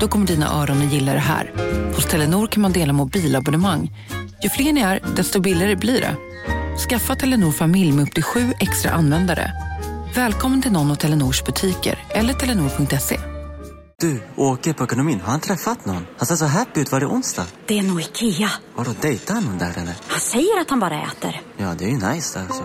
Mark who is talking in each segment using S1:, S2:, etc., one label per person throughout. S1: Då kommer dina öron att gilla det här. Hos Telenor kan man dela mobilabonnemang. Ju fler ni är, desto billigare blir det. Skaffa Telenor familj med upp till sju extra användare. Välkommen till någon av Telenors butiker eller telenor.se.
S2: Du, åker på ekonomin. Har han träffat någon? Han ser så happy ut. Var det onsdag?
S3: Det är nog Ikea.
S2: Har du dejtar någon där eller?
S3: Han säger att han bara äter.
S2: Ja, det är ju nice där alltså.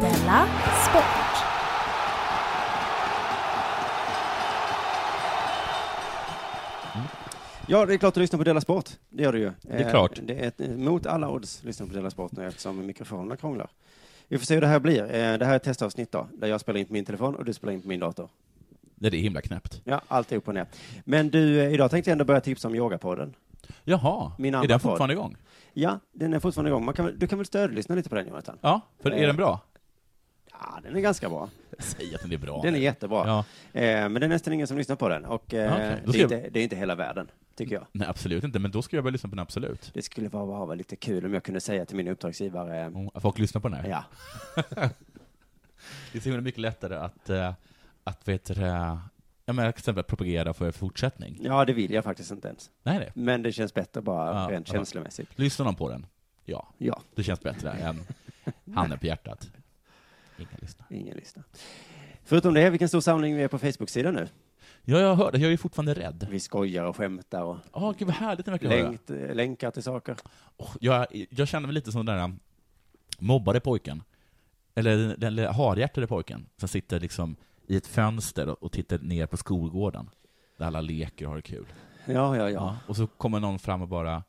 S4: Della Sport.
S5: Ja, det är klart du lyssnar på Della Sport. Det gör du ju. Det
S6: är klart.
S5: Det är ett, mot alla odds lyssnar på Della Sport nu eftersom mikrofonerna krånglar. Vi får se hur det här blir. Eh, Det här är ett testavsnitt då, där jag spelar in på min telefon och du spelar in på min dator.
S6: Nej, det är himla knäppt.
S5: Ja, allt är upp och ner. Men du, eh, idag tänkte jag ändå börja tipsa om yogapodden.
S6: Jaha,
S5: Min
S6: är
S5: andra
S6: den
S5: podd.
S6: fortfarande igång?
S5: Ja, den är fortfarande igång. Man kan, väl- du kan väl stödlyssna lite på den, Jonathan?
S6: Ja, för
S5: Eh,
S6: är den bra?
S5: Ja, den är ganska bra.
S6: Säg att den är bra.
S5: Den är jättebra.
S6: Ja.
S5: Eh, Men det är nästan ingen som lyssnar på den. Och eh,
S6: Okej, då ska
S5: det, är
S6: jag-
S5: inte, det är inte hela världen, tycker jag.
S6: Nej, absolut inte. Men då ska jag börja lyssna på den, absolut.
S5: Det skulle bara vara lite kul om jag kunde säga till min uppdragsgivare, eh,
S6: Om Mm, Folk lyssnar på den här.
S5: ja,
S6: Det är så himla mycket lättare att, eh, att vad heter det, jag menar, till exempel propagera för fortsättning.
S5: ja, det vill jag faktiskt inte ens.
S6: Nej, det.
S5: Men det känns bättre bara
S6: Ja,
S5: rent
S6: ja.
S5: känslomässigt.
S6: Lyssnar någon på den? Ja.
S5: Ja,
S6: Det känns bättre än handen på hjärtat. Ingen lyssnar.
S5: ingen lista. Förutom det, vilken stor samling vi är på Facebook-sidan nu.
S6: Ja, jag hörde. Jag är fortfarande rädd.
S5: Vi skojar och skämtar och
S6: Ja, gud vad härligt den verkar vara.
S5: länkt, länkar till saker.
S6: Åh, jag, jag känner mig lite som den där um, mobbade pojken. Eller den, den lilla harhjärtade pojken som sitter liksom i ett fönster och, och tittar ner på skolgården. Där alla leker och har det kul.
S5: Ja, ja, ja.
S6: Ja, Och så kommer någon fram och bara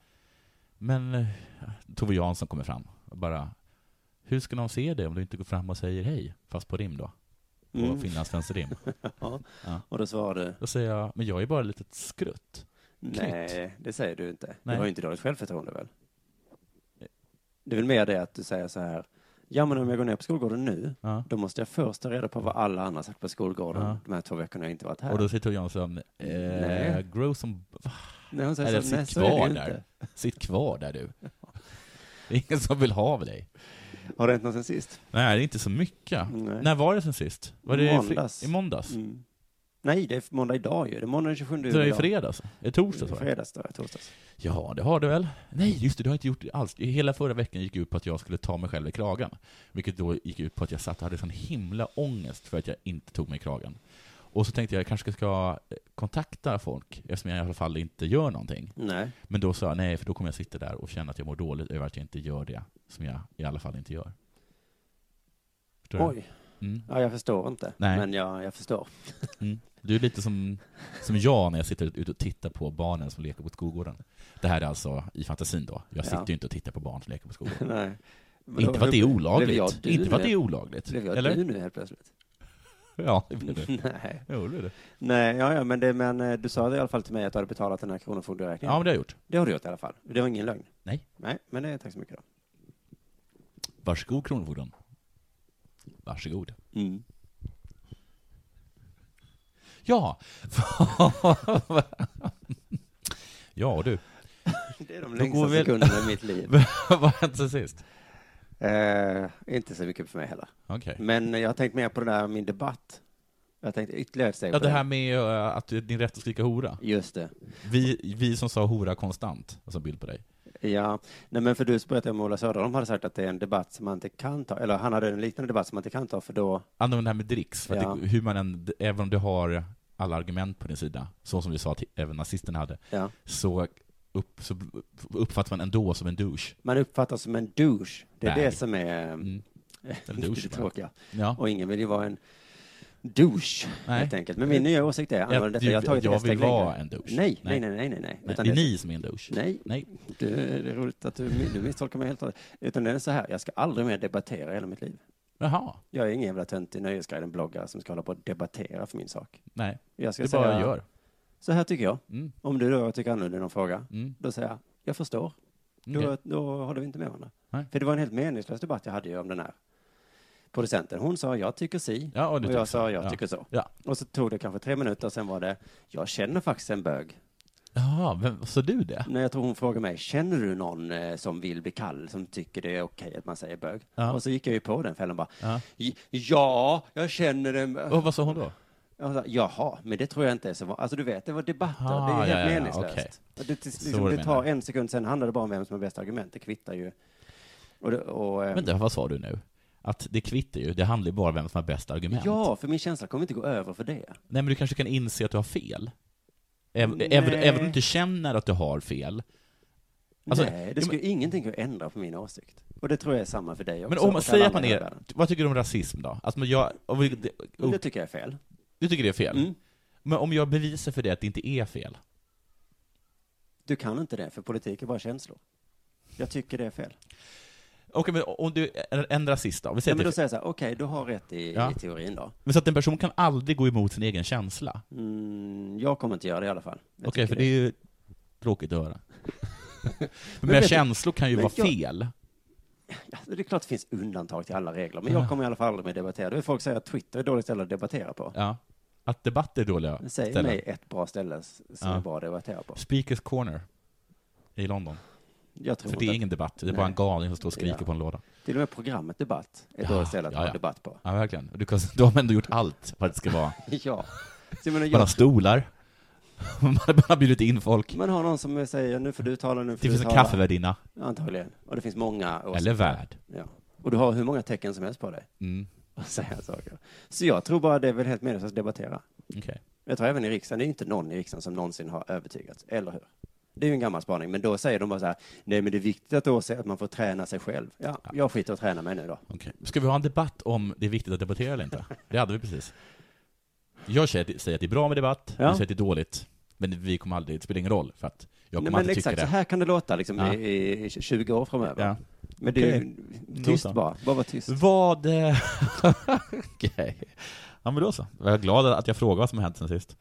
S6: Men eh, Tove Jansson kommer fram och bara Hur ska någon se dig om du inte går fram och säger hej? Fast på rim då. På
S5: Mm.
S6: finlandssvensk rim.
S5: Och då svarar du,
S6: Då säger jag, men jag är bara ett litet skrutt.
S5: nej, det säger du inte. Du
S6: Nej.
S5: har ju inte dåligt självförtroende väl? Det är väl mer det att du säger så här, ja men om jag går ner på skolgården nu,
S6: Ja.
S5: då måste jag först ta reda på vad alla andra sagt på skolgården
S6: Ja.
S5: de här två veckorna jag inte varit här.
S6: Och då säger Tove Jansson, eh,
S5: Nej.
S6: grow som... Va?
S5: nej, hon
S6: Eller
S5: säger så, nej,
S6: sitt
S5: så är
S6: kvar
S5: det ju inte.
S6: där. Sitt kvar där du. Det är ingen som vill ha av dig.
S5: Har det hänt något sen sist?
S6: Nej, det är inte så mycket.
S5: Nej.
S6: När var det sen sist? Var det i fri-
S5: Måndags.
S6: I måndags?
S5: Mm. Nej, det är måndag idag ju. Det är måndag den 27
S6: Det var i
S5: idag.
S6: fredags? I torsdags var det?
S5: Fredags, då, torsdags.
S6: Ja, det har du väl? Nej, just det, du har inte gjort det alls. Hela förra veckan gick ut på att jag skulle ta mig själv i kragen. Vilket då gick ut på att jag satt och hade sån himla ångest för att jag inte tog mig i kragen. Och så tänkte jag, jag kanske ska eh, kontakta folk, eftersom jag i alla fall inte gör någonting.
S5: Nej.
S6: Men då sa jag nej, för då kommer jag sitta där och känna att jag mår dåligt över att jag inte gör det som jag i alla fall inte gör. Förstår du?
S5: Oj.
S6: Mm.
S5: Ja, jag förstår inte.
S6: Nej.
S5: Men jag, jag förstår.
S6: Mm. Du är lite som, som jag när jag sitter ute och tittar på barnen som leker på skolgården. Det här är alltså i fantasin då. Jag
S5: Ja.
S6: sitter ju inte och tittar på barn som leker på skolgården.
S5: Nej. Men
S6: inte
S5: då-
S6: för att det är
S5: Blev jag
S6: olagligt.
S5: du
S6: Inte för att
S5: nu?
S6: det är olagligt. Mm.
S5: Blev jag
S6: Eller?
S5: du nu helt plötsligt?
S6: Ja, det blir det.
S5: Nej.
S6: Jo, det blir det.
S5: Nej, ja, ja, men, det, men eh, du sa det i alla fall till mig att du hade betalat den här
S6: Ja,
S5: kronofogderäkningen.
S6: men det har jag gjort.
S5: Det har du gjort i alla fall. Det var ingen lögn.
S6: Nej.
S5: Nej, men det, tack så mycket då.
S6: Varsågod, Kronofogden. Varsågod.
S5: Mm.
S6: Ja! ja, du.
S5: Det är
S6: Då går
S5: de längsta
S6: vi-
S5: sekunderna i mitt liv.
S6: Vad har hänt sen sist?
S5: Eh, inte så mycket för mig heller.
S6: Okej.
S5: Men jag har tänkt mer på det där min debatt. Jag tänkte ytterligare ett steg
S6: Ja,
S5: på
S6: det här med eh, att du- din rätt att skrika hora.
S5: Just det.
S6: Vi, vi som sa hora konstant, alltså bild på dig.
S5: Ja, nej men för du berättade om Ola Söderholm hade sagt att det är en debatt som man inte kan ta, eller han hade en liknande debatt som man inte kan ta för då,
S6: Använd det här med dricks, för att
S5: Ja.
S6: det, hur man än, även om du har alla argument på din sida, så som vi sa att även nazisterna hade,
S5: ja,
S6: så upp, så uppfattas man ändå som en douche.
S5: Man uppfattas som en douche. Det är
S6: Bag.
S5: det som är eh,
S6: Mm. En douche,
S5: det tråkiga.
S6: Ja.
S5: Och ingen vill ju vara en douche,
S6: Nej.
S5: helt enkelt. Men min nya åsikt är annorlunda.
S6: du-
S5: Jag har tagit
S6: jag
S5: ett steg
S6: vill vara
S5: längre.
S6: en douche.
S5: Nej, nej, nej,
S6: Nej.
S5: nej, nej. nej.
S6: Nej,
S5: Utan
S6: det är ni som är en douche.
S5: Nej,
S6: Nej.
S5: Det, det är roligt att du, du misstolkar mig helt och hållet. Utan det är så här, jag ska aldrig mer debattera i hela mitt liv.
S6: Jaha.
S5: Jag är ingen jävla töntig Nöjesguiden-bloggare som ska hålla på och debattera för min sak.
S6: Nej,
S5: Jag ska
S6: du
S5: säga,
S6: bara gör.
S5: Så här tycker jag.
S6: Mm.
S5: Om du då tycker annorlunda i någon fråga,
S6: Mm.
S5: då säger jag, jag förstår. Då,
S6: Okej.
S5: då håller vi inte med varandra.
S6: Nej.
S5: För det var en helt meningslös debatt jag hade ju om den här producenten. Hon sa, jag tycker si.
S6: Ja, och
S5: och
S6: du
S5: jag
S6: tycker
S5: sa,
S6: så.
S5: jag
S6: Ja.
S5: tycker så.
S6: Ja.
S5: Och så tog det kanske tre minuter, och sen var det, jag känner faktiskt en bög.
S6: Jaha, vem, så du det?
S5: När jag tror hon frågade mig, känner du någon eh, som vill bli kall, som tycker det är okej att man säger bög?
S6: Ja.
S5: Och så gick jag ju på den fällan bara,
S6: Ja.
S5: "J- ja, jag känner en bög.
S6: Och vad sa hon då?
S5: Jag sa, Jaha, men det tror jag inte är så van- Alltså du vet, det var debatter,
S6: Ah,
S5: det
S6: ja,
S5: är helt
S6: ja, ja,
S5: meningslöst.
S6: okej.
S5: Och det,
S6: Så
S5: liksom,
S6: du
S5: det tar
S6: menar.
S5: en sekund, sen handlar det bara om vem som har bäst argument, det kvittar ju. Och, det- och, ehm,
S6: Vänta, vad sa du nu? Att det kvittar ju, det handlar ju bara om vem som har bäst argument.
S5: ja, för min känsla kommer inte gå över för det.
S6: Nej, men du kanske kan inse att du har fel? Även,
S5: Nej.
S6: även, även om du inte känner att du har fel. Alltså,
S5: Nej, det
S6: ja,
S5: skulle ingenting kunna ändra på min åsikt. Och det tror jag är samma för dig också.
S6: Men om man
S5: och för
S6: säger
S5: alla
S6: att man
S5: andra
S6: är...
S5: i
S6: Oh.
S5: världen.
S6: Vad tycker du om rasism då? Alltså, men jag, om vi, det,
S5: Och Det tycker jag är fel.
S6: du tycker det är fel?
S5: Mm.
S6: Men om jag bevisar för dig att det inte är fel?
S5: Du kan inte det, för politik är bara känslor. Jag tycker det är fel.
S6: Okej, men om du är en rasist då? Om Vi
S5: Ja,
S6: säger
S5: men
S6: att det
S5: då
S6: är fel.
S5: säger jag så här, okej, du har rätt i,
S6: Ja.
S5: i teorin då.
S6: men så att en person kan aldrig gå emot sin egen känsla?
S5: Mm, jag kommer inte göra det i alla fall. Jag
S6: Okej,
S5: tycker
S6: för det är ju tråkigt att höra. men
S5: vet
S6: mina
S5: du-
S6: känslor kan ju
S5: men
S6: vara
S5: jag-
S6: fel.
S5: Alltså, det är klart det finns undantag till alla regler, men jag kommer i alla fall aldrig mer debattera. Du vet, folk säger att Twitter är dåligt ställe att debattera på.
S6: Ja. Att debatter är dåliga
S5: Säg
S6: ställen.
S5: mig ett bra ställe s- som
S6: Ja.
S5: är bra att debattera på.
S6: Speakers corner i London.
S5: Jag tror
S6: För det
S5: inte
S6: är
S5: att-
S6: ingen debatt, det är
S5: Nej.
S6: bara en galning som står och skriker
S5: Ja.
S6: på en låda.
S5: Till och med programmet Debatt är ett
S6: Ja,
S5: dåligt ställe att
S6: ja,
S5: ha
S6: ja.
S5: debatt på.
S6: Ja, verkligen. Och Du, kan, du har ändå gjort allt för att det ska vara.
S5: ja. Så jag menar,
S6: Man har
S5: jag,
S6: stolar, man har bara bjudit in folk,
S5: man har någon som säger nu får du tala, nu får
S6: det
S5: du
S6: finns en
S5: tala.
S6: kaffevärdinna,
S5: Antagligen. Och det finns många åsikter.
S6: eller värd.
S5: Ja. Och du har hur många tecken som helst på dig
S6: Mm.
S5: att säga saker. Så jag tror bara det är väl helt meningslöst att debattera.
S6: Okej.
S5: Jag tror även i riksdagen, det är inte någon i riksdagen som någonsin har övertygats, eller hur? Det är ju en gammal spaning, men då säger de bara så här, nej men det är viktigt att, då se att man får träna sig själv. Ja, jag skiter och träna mig nu då.
S6: Okej. Ska vi ha en debatt om det är viktigt att debattera eller inte? Det hade vi precis. Jag säger säger att det är bra med debatt,
S5: Ja.
S6: du säger att det är dåligt, men vi kommer aldrig, det spelar ingen roll, för att jag
S5: Nej,
S6: kommer
S5: men
S6: alltid tycka
S5: exakt, så
S6: det.
S5: här kan det låta liksom
S6: Ja.
S5: i, i, i 20 år framöver.
S6: Ja.
S5: Men det är
S6: Okej.
S5: ju tyst
S6: så.
S5: bara, bara var tyst.
S6: Vad... eh, Okej. Ja, men då så. Jag är glad att jag frågade vad som har hänt sen sist.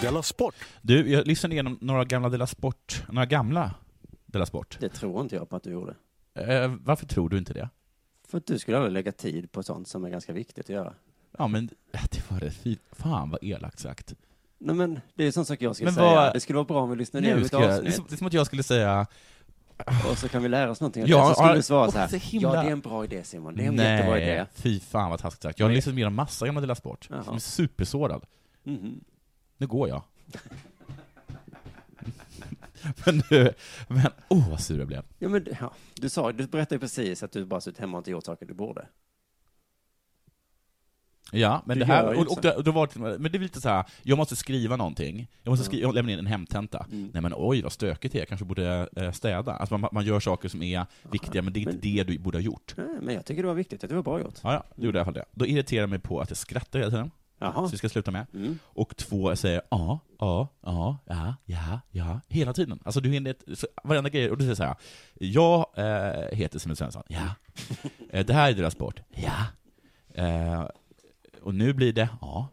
S7: Della Sport.
S6: Du, jag lyssnade igenom några gamla Della Sport. Några gamla Della Sport.
S5: Det tror inte jag på att du gjorde.
S6: Eh, varför tror du inte det?
S5: För att du skulle aldrig lägga tid på sånt som är ganska viktigt att göra.
S6: Ja, men eh, det var det fint. Fan vad elakt sagt.
S5: Nej men, det är ju sån sak jag skulle
S6: Men
S5: säga.
S6: vad-
S5: Det skulle vara bra om vi lyssnade igenom
S6: Nu
S5: ett
S6: ska jag, det, är
S5: avsnitt,
S6: som, det är som att jag skulle säga
S5: och så kan vi lära oss någonting.
S6: Ja,
S5: Ja, så skulle
S6: ja,
S5: du svara
S6: och
S5: så här,
S6: det är så himla-
S5: ja det är en bra idé Simon, det är en jättebra idé.
S6: nej, fy fan vad taskigt sagt. Jag har lyssnat igenom massa gamla Della Sport.
S5: Jaha.
S6: Jag är supersårad.
S5: Mhm.
S6: Nu går jag. men nu, men åh vad sur jag blev.
S5: Ja, men, ja. Du, sa, du berättade ju precis att du bara suttit hemma och inte gjort saker du borde.
S6: Ja, men
S5: Du
S6: det
S5: gör
S6: här, och,
S5: ju inte
S6: och,
S5: så.
S6: det, och det var, till- men det är lite så här, jag måste skriva någonting, jag måste skriva, jag lämnar in en hemtenta.
S5: Mm.
S6: Nej men oj vad stökigt det är, jag kanske borde eh, städa. Alltså man, man gör saker som är viktiga, men det är inte det du borde ha gjort.
S5: Nej, men jag tycker det var viktigt, att det var bra gjort.
S6: Ja, ja, du gjorde i alla fall det. Då irriterar jag mig på att jag skrattar hela tiden,
S5: Jaha. Mm.
S6: så vi ska sluta med. Och två, jag säger ja, ja, ja, ja, ja, ja, hela tiden. Alltså du hinner, ett- så, varenda grej, och du säger så här, jag eh, heter Simon Svensson, ja. Eh, det här är deras sport, ja. Eh, och nu blir det, ja.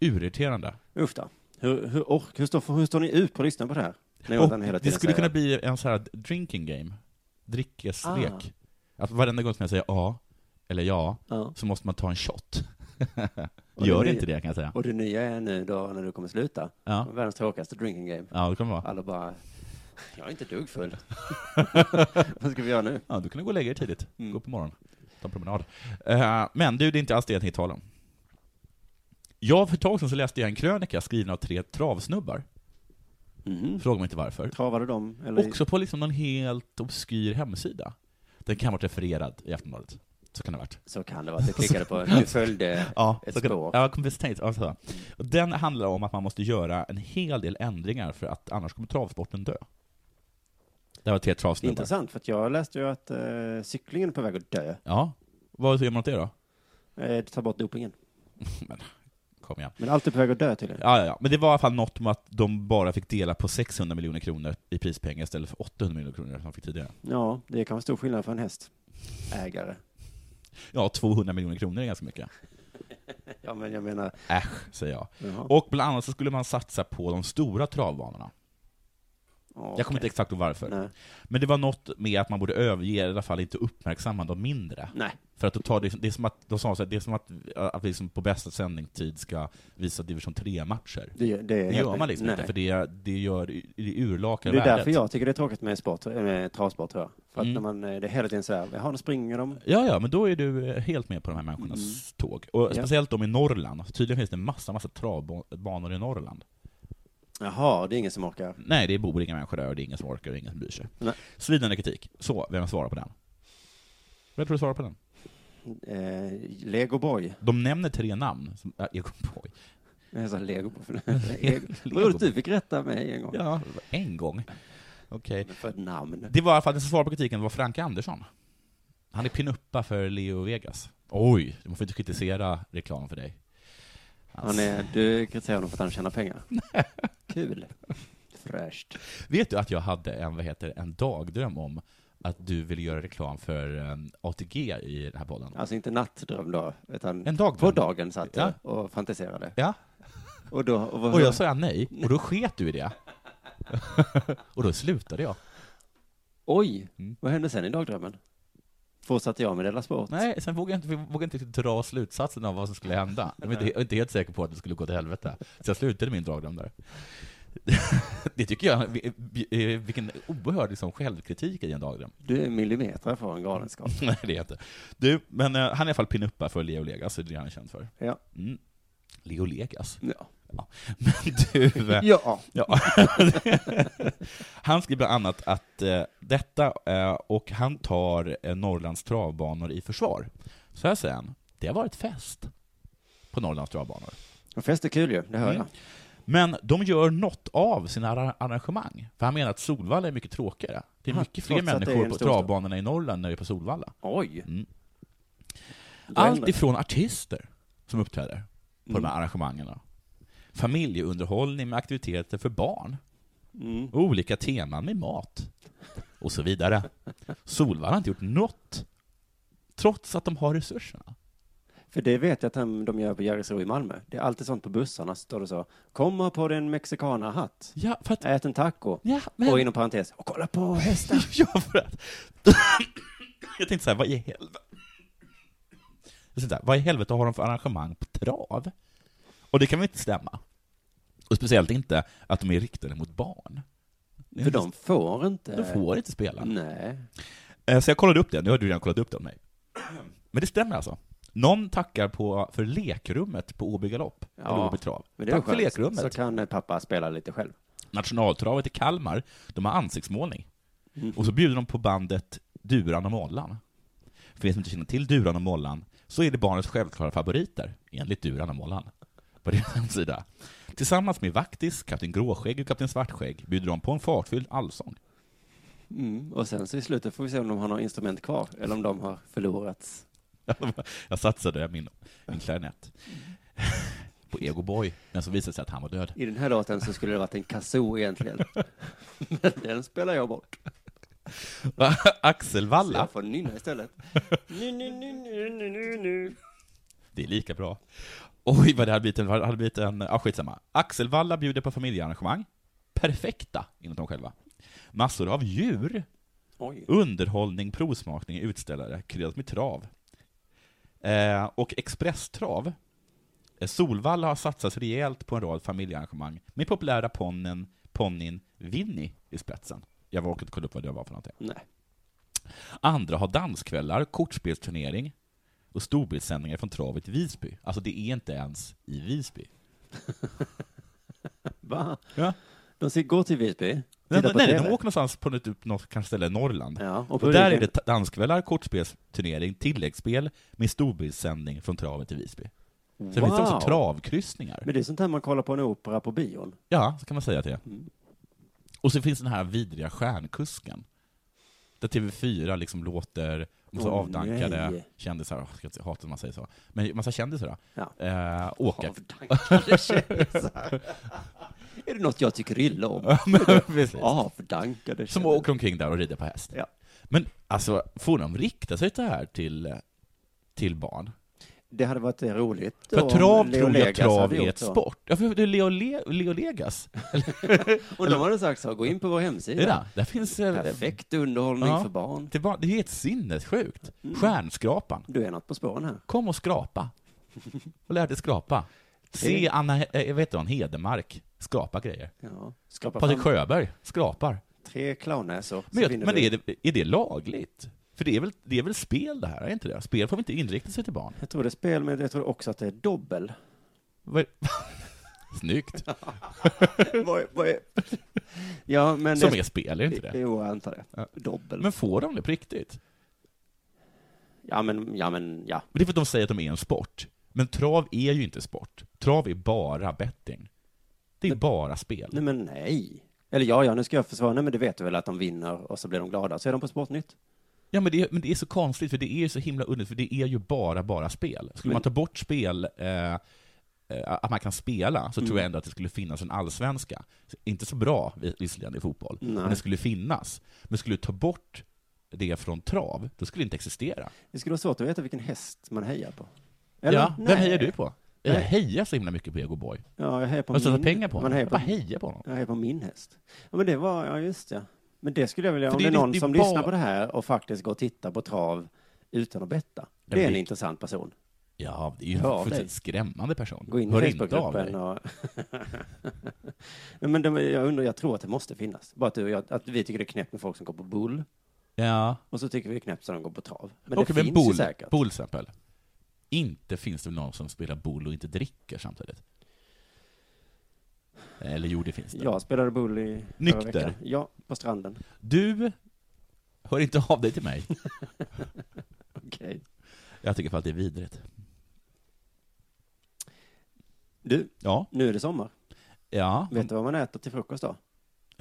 S6: Urirriterande.
S5: Usch då. Hur, hur, ork, hur, står, hur står ni ut på att lyssna på det här? När
S6: Och
S5: Jonathan hela
S6: det
S5: tiden
S6: skulle kunna
S5: säger,
S6: bli en så här drinking game, drickeslek. Att varenda gång som jag säger ja, eller ja,
S5: Ah. Ja.
S6: så måste man ta en shot.
S5: Och
S6: Gör
S5: det-
S6: inte det kan jag säga.
S5: Och det nya är nu då när du kommer sluta,
S6: Ja.
S5: världens tråkigaste drinking game.
S6: Ja, det kommer vara.
S5: Alla bara, jag är inte ett dugg full. Vad ska vi göra nu?
S6: Ja, du kan gå och lägga dig tidigt. Gå på morgonen. Ta en promenad. Eh, men du, det är inte alls det jag tänkte tala om. Jag, för ett tag sedan så läste jag en krönika skriven av tre travsnubbar.
S5: Mhm.
S6: Fråga mig inte varför.
S5: Travade de? Eller?
S6: Också på liksom någon helt obskyr hemsida. Den kan ha varit refererad i Aftonbladet. Så kan det ha varit.
S5: Så kan det vara, att du klickade på, du följde
S6: ja,
S5: ett
S6: så kan,
S5: spår.
S6: Ja, precis. Tänkt, ja, så. Och Den handlar om att man måste göra en hel del ändringar för att annars kommer travsporten dö. Det var tre
S5: Det är
S6: travsnubbar.
S5: intressant, för att jag läste ju att eh, cyklingen är på väg att dö.
S6: Ja. Vad säger man åt det då?
S5: Eh, ta bort dopingen.
S6: Kom igen.
S5: Men allt är på väg att dö tydligen.
S6: Ja, ja, ja. Men det var i alla fall något med att de bara fick dela på 600 miljoner kronor i prispengar istället för 800 miljoner kronor som de fick tidigare.
S5: Ja, det kan vara stor skillnad för en hästägare.
S6: Ja, 200 miljoner kronor är ganska mycket.
S5: Ja, men jag menar,
S6: Äsch, säger jag.
S5: Jaha.
S6: Och bland annat så skulle man satsa på de stora travbanorna. Jag kommer inte exakt ihåg varför.
S5: Nej.
S6: Men det var något med att man borde överge, i alla fall inte uppmärksamma de mindre.
S5: Nej.
S6: För att då tar det, det är som att, de sa så här, det är som att, att vi liksom på bästa sändningstid ska visa division 3-matcher.
S5: Det- det är helt-
S6: gör man liksom
S5: nej.
S6: inte, för det, det, gör, det urlakar
S5: det är
S6: värdet.
S5: därför jag tycker det är tråkigt med, sport, eh, med travsport, tror jag. För att
S6: Mm.
S5: när man, eh, det är hela tiden så här, jaha, nu springer de.
S6: Ja, ja, men då är du eh, helt med på de här människornas
S5: Mm.
S6: tåg. Och
S5: Ja.
S6: speciellt de i Norrland. Tydligen finns det massa, massa travbanor i Norrland.
S5: Jaha, det är ingen som orkar.
S6: Nej, det bor inga människor där och det är ingen som orkar och ingen som bryr sig.
S5: Nej.
S6: Svidande kritik. Så, vem svarar på den? Vem tror du svarar på den?
S5: Eh, Lego Boy.
S6: De nämner tre namn. Som, äh, Egon Boy.
S5: Jag sa Lego Boy. Vad roligt du fick rätta mig en gång.
S6: Ja, en gång. Okej.
S5: Men För ett namn.
S6: Det var i alla fall, den som svarade på kritiken var Frank Andersson. Han är pinuppa för Leo Vegas. Oj, man får inte kritisera reklam för dig. Alltså.
S5: Han är, du kritiserar honom för att han tjänar pengar. Kul. Fräscht.
S6: Vet du att jag hade en, vad heter, det, en dagdröm om att du ville göra reklam för eh, ATG i den här podden?
S5: Alltså inte nattdröm då, utan
S6: En dagdröm.
S5: på dagen satt jag
S6: Ja.
S5: och fantiserade.
S6: Ja.
S5: Och, då, och, vad-
S6: Och jag sa nej, och då sket du i det. och då slutade jag.
S5: Oj,
S6: Mm.
S5: vad hände sen i dagdrömmen? Fortsatte jag med Della Sport?
S6: Nej, sen vågade jag inte, vågade jag inte dra slutsatsen av vad som skulle hända. Jag var inte, jag var inte helt säker på att det skulle gå till helvete. Så jag slutade min dragdröm där. det tycker jag, vi- vi- eh, vilken oerhörd liksom självkritik i en dagdröm.
S5: Du är millimeter från en galenskap.
S6: Nej, det är jag inte. Du, men eh, han är i alla fall pinuppa för Leo Legas, det är det han är känd för.
S5: Ja.
S6: Mm. Leo Legas?
S5: Ja.
S6: Ja. Men du... eh,
S5: Ja.
S6: Ja. han skriver bland annat att eh, detta, eh, och han tar eh, Norrlands travbanor i försvar. Så här säger han, det har varit fest på Norrlands travbanor.
S5: Och fest är kul ju, det hör
S6: Mm.
S5: jag.
S6: Men de gör något av sina arra- arrangemang. För han menar att Solvalla är mycket tråkigare. Det är
S5: Aha,
S6: mycket fler
S5: trots att det är
S6: människor
S5: en
S6: på
S5: storstad.
S6: travbanorna i Norrland när det är på Solvalla.
S5: Oj.
S6: Mm.
S5: Då ändrar
S6: Allt
S5: det.
S6: ifrån artister som uppträder på
S5: Mm.
S6: de här arrangemangen. Familjeunderhållning med aktiviteter för barn.
S5: Mm.
S6: Olika teman med mat. Och så vidare. Solvalla har inte gjort något. Trots att de har resurserna.
S5: För det vet jag att de, de gör på Järvsö i Malmö. Det är alltid sånt på bussarna, så står det så. Komma på din mexikanahatt.
S6: Ja, för att...
S5: Ät en taco.
S6: Ja, men...
S5: Och inom parentes, och kolla på hästen.
S6: ja, för att... jag tänkte så här, vad i helvete... Jag tänkte så här, vad i helvete har de för arrangemang på trav? Och det kan väl inte stämma? Och speciellt inte att de är riktade mot barn. Det är
S5: För
S6: inte-
S5: de får inte.
S6: De får inte spela.
S5: Nej.
S6: Eh, Så jag kollade upp det, nu har du redan kollat upp det om mig. Men det stämmer alltså. Någon tackar på, för lekrummet på Åby galopp, eller
S5: Ja,
S6: Åby trav.
S5: Men det är
S6: Tack för
S5: skönt.
S6: lekrummet.
S5: Så kan eh, pappa spela lite själv.
S6: Nationaltravet i Kalmar, de har ansiktsmålning.
S5: Mm.
S6: Och så bjuder de på bandet Duran och Mollan. För er som inte känner till Duran och Mollan, så är det barnets självklara favoriter, enligt Duran och Mollan. På deras hemsida. Tillsammans med Vaktis, Kapten Gråskägg och Kapten Svartskägg bjuder de på en fartfylld allsång.
S5: Mm. Och sen så i slutet får vi se om de har några instrument kvar, eller om de har förlorats.
S6: Jag satsade min, min klarinett på Ego Boy, men så visade det sig att han var död.
S5: I den här låten så skulle det varit en kazoo egentligen. Men den spelar jag bort.
S6: Axel
S5: Så
S6: Walla,
S5: jag får nynna istället. Nu, nu, nu, nu, nu, nu, nu.
S6: det är lika bra. Oj, vad det hade blivit en... vad Det hade blivit en ah, skitsamma. Axel Walla bjuder på familjearrangemang. Perfekta, enligt dem själva. Massor av djur,
S5: Oj.
S6: underhållning, provsmakning, utställare, kryddat med trav. Eh, och expresstrav. Eh, Solvalla har satsat rejält på en rad familjearrangemang med populära ponnen, ponnin Winnie i spetsen. Jag var orkat kolla upp vad det var för någonting.
S5: Nej.
S6: Andra har danskvällar, kortspelsturnering och storbildssändningar från travet i Visby. Alltså det är inte ens i Visby.
S5: Va?
S6: Ja.
S5: De ska gå till Visby
S6: Nej,
S5: Titta på
S6: nej, de
S5: TV.
S6: åker någonstans på något, typ, något kanske ställe i Norrland.
S5: Ja, och
S6: och
S5: på
S6: där är
S5: ryggen-
S6: det ta- danskvällar, kortspelsturnering, tilläggsspel med storbildssändning från travet i Visby. Så det finns också
S5: Wow.
S6: travkryssningar.
S5: Men det är sånt här man kollar på en opera på bion.
S6: Ja, så kan man säga att det är.
S5: Mm.
S6: Och så finns den här vidriga stjärnkusken. Där TV4 liksom låter en massa
S5: Åh,
S6: avdankade
S5: nej.
S6: kändisar, åh, jag hatar när man säger så, men en massa kändisar då,
S5: Ja.
S6: eh, åka.
S5: Avdankade kändisar. Är det något jag tycker illa om?
S6: Ja, men precis. Som
S5: Avdankade kändisar.
S6: åker omkring där och rider på häst.
S5: Ja.
S6: Men alltså, får de rikta sig det här till, till barn?
S5: Det hade varit eh, roligt.
S6: För
S5: om
S6: att trav
S5: Leo
S6: tror jag
S5: Legas
S6: trav
S5: hade
S6: är
S5: gjort
S6: ett
S5: så.
S6: sport. Ja, för det är Leo, Le, Leo Legas.
S5: Och de hade sagt så, gå in på vår hemsida.
S6: Det där, där finns... eh,
S5: Perfekt underhållning
S6: Ja.
S5: för barn.
S6: Till barn. Det är helt sinnessjukt. Stjärnskrapan.
S5: Du är något på spåren här.
S6: Kom och skrapa. Och lär dig skrapa. Se Anna, eh, vet du hon, Hedemark skrapa grejer.
S5: Ja. Skapa
S6: Patrik
S5: fram
S6: Sjöberg skrapar.
S5: tre clownnäsor. så
S6: Men, jag,
S5: vinner
S6: men
S5: du.
S6: är, det, är det lagligt? För det är, väl, det är väl spel det här, är inte det? Spel får vi inte inrikta sig till barn.
S5: Jag tror det är spel, men jag tror också att det är dobbel.
S6: Vad är- Snyggt.
S5: vad, är- vad är... Ja, men...
S6: Som
S5: det-
S6: är spel, är det inte det?
S5: Jo, jag antar det. Dobbel.
S6: Men får de det på riktigt?
S5: Ja, men, ja, men, ja.
S6: Men Det är för att de säger att de är en sport. Men trav är ju inte sport. Trav är bara betting. Det är bara spel.
S5: Nej, men nej. Eller ja, ja, nu ska jag försvara. Nej, men det vet du väl att de vinner och så blir de glada. Så är de på Sportnytt.
S6: Ja, men det, men det är så konstigt, för det är ju så himla underligt, för det är ju bara, bara spel. Skulle man ta bort spel, eh, eh, att man kan spela, så
S5: Mm.
S6: tror jag ändå att det skulle finnas en allsvenska. Så- Inte så bra, vis- visserligen, i fotboll, men det skulle finnas. Men skulle du ta bort det från trav, då skulle det inte existera.
S5: Det skulle vara svårt att veta vilken häst man hejar på. Eller?
S6: Ja, vem
S5: Nej.
S6: hejar du på? Jag
S5: Nej.
S6: hejar så himla mycket på Ego Boy.
S5: Ja, jag hejar på
S6: Jag satsar
S5: min...
S6: pengar på
S5: Man
S6: honom.
S5: hejar
S6: Jag bara
S5: på...
S6: hejar på honom.
S5: Jag hejar på min häst. Ja, men det var, ja just det. Men det skulle jag vilja,
S6: För
S5: om
S6: det
S5: det
S6: är
S5: är
S6: li-
S5: någon
S6: det är
S5: som
S6: bara-
S5: lyssnar på det här och faktiskt går och tittar på trav utan att betta. Det
S6: men
S5: är en
S6: det-
S5: intressant person.
S6: Ja, det är ju en
S5: Hör av dig.
S6: fullständigt skrämmande person.
S5: Gå in i
S6: Hör inte av
S5: Facebookgruppen
S6: dig.
S5: och... Nej, men de, jag undrar, jag tror att det måste finnas. Bara att, du och jag, att vi tycker det är knäppt med folk som går på bull.
S6: Ja.
S5: Och så tycker vi det är knäppt så de går på trav. Men
S6: Okej,
S5: det
S6: men
S5: finns ju
S6: bull,
S5: säkert.
S6: bull till exempel. Inte finns det någon som spelar bull och inte dricker samtidigt. Eller jo, det finns det.
S5: Jag spelade bull i förra
S6: Nykter.
S5: veckan. Ja, på stranden.
S6: Du, hör inte av dig till mig.
S5: Okej.
S6: Jag tycker för att det är vidrigt.
S5: Du,
S6: Ja,
S5: nu är det sommar.
S6: ja.
S5: Vet du vad man äter till frukost då?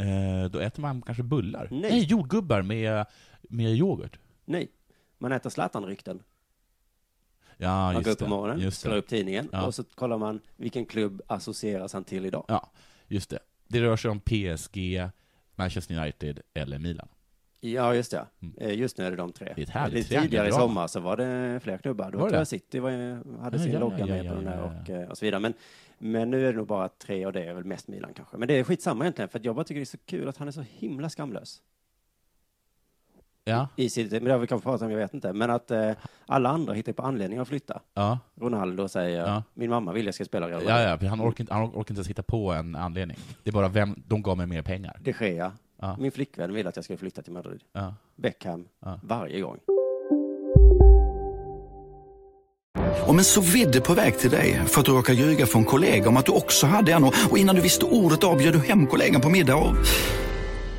S6: Eh, då äter man kanske bullar.
S5: Nej.
S6: jordgubbar med, med yoghurt.
S5: Nej, man äter Zlatan-rykten.
S6: Ja,
S5: Man
S6: just
S5: går upp på
S6: det.
S5: morgonen,
S6: just
S5: slår
S6: det.
S5: upp tidningen
S6: Ja.
S5: och så kollar man vilken klubb associeras han till idag.
S6: Ja, just det. Det rör sig om PSG, Manchester United eller Milan.
S5: Ja, just det. Eh, Just nu är det de tre.
S6: Mm. Det är ett härligt
S5: Lite tidigare i
S6: triangeldrama.
S5: sommar så var det fler klubbar. Då
S6: Var det
S5: tror jag
S6: det?
S5: City var, ju- hade
S6: Ja,
S5: sin
S6: ja,
S5: logga
S6: ja,
S5: med
S6: ja,
S5: på den
S6: ja,
S5: där
S6: ja,
S5: och, eh, och så vidare. Men, men nu är det nog bara tre och det är väl mest Milan kanske. Men det är skitsamma egentligen för att jag bara tycker det är så kul att han är så himla skamlös.
S6: Ja,
S5: I sitt, men det har vi kanske pratat om, jag vet inte. Men att eh, alla andra hittar på anledningar att flytta.
S6: ja.
S5: Ronaldo säger,
S6: Ja.
S5: min mamma vill jag ska spela i Real Madrid.
S6: Ja, ja, för han orkar, inte, han orkar inte ens hitta på en anledning. Det är bara vem, de gav mig mer pengar.
S5: De Gea,
S6: Ja.
S5: min flickvän vill att jag ska flytta till Madrid.
S6: Ja.
S5: Beckham,
S6: Ja.
S5: varje gång.
S8: Om en så vidde på väg till dig för att du råkar ljuga från kollega om att du också hade en och och innan du visste ordet av bjöd du hem kollegan på middag och...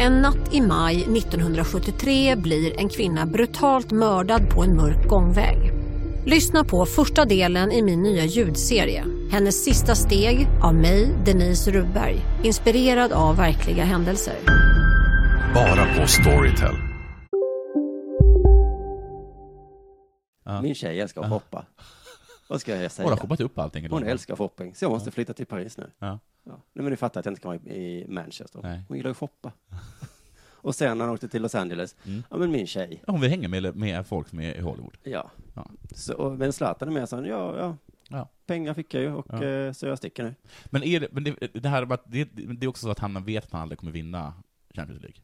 S3: En natt i maj 1973 blir en kvinna brutalt mördad på en mörk gångväg. Lyssna på första delen i min nya ljudserie. Hennes sista steg av mig, Denise Rubberg. Inspirerad av verkliga händelser.
S9: Bara på Storytel.
S5: Min tjej älskar att hoppa. Vad ska jag säga?
S6: Hon har shoppat upp allting.
S5: Hon älskar shopping, så jag måste flytta till Paris nu.
S6: Ja.
S5: Ja. Nej, men du fattar att jag inte kan vara i i Manchester.
S6: Nej.
S5: Hon gillar ju shoppa. Och sen när hon åkte till Los Angeles,
S6: Mm.
S5: ja men min tjej,
S6: Hon vill hänga med, med folk som är i Hollywood.
S5: ja.
S6: Ja.
S5: Så, och, men Zlatan är med, så han, ja, ja,
S6: Ja.
S5: pengar fick jag ju och
S6: Ja.
S5: eh, så jag sticker nu.
S6: Men, är det, men det, det här med att- det, det är också så att han vet att han aldrig kommer vinna Champions League.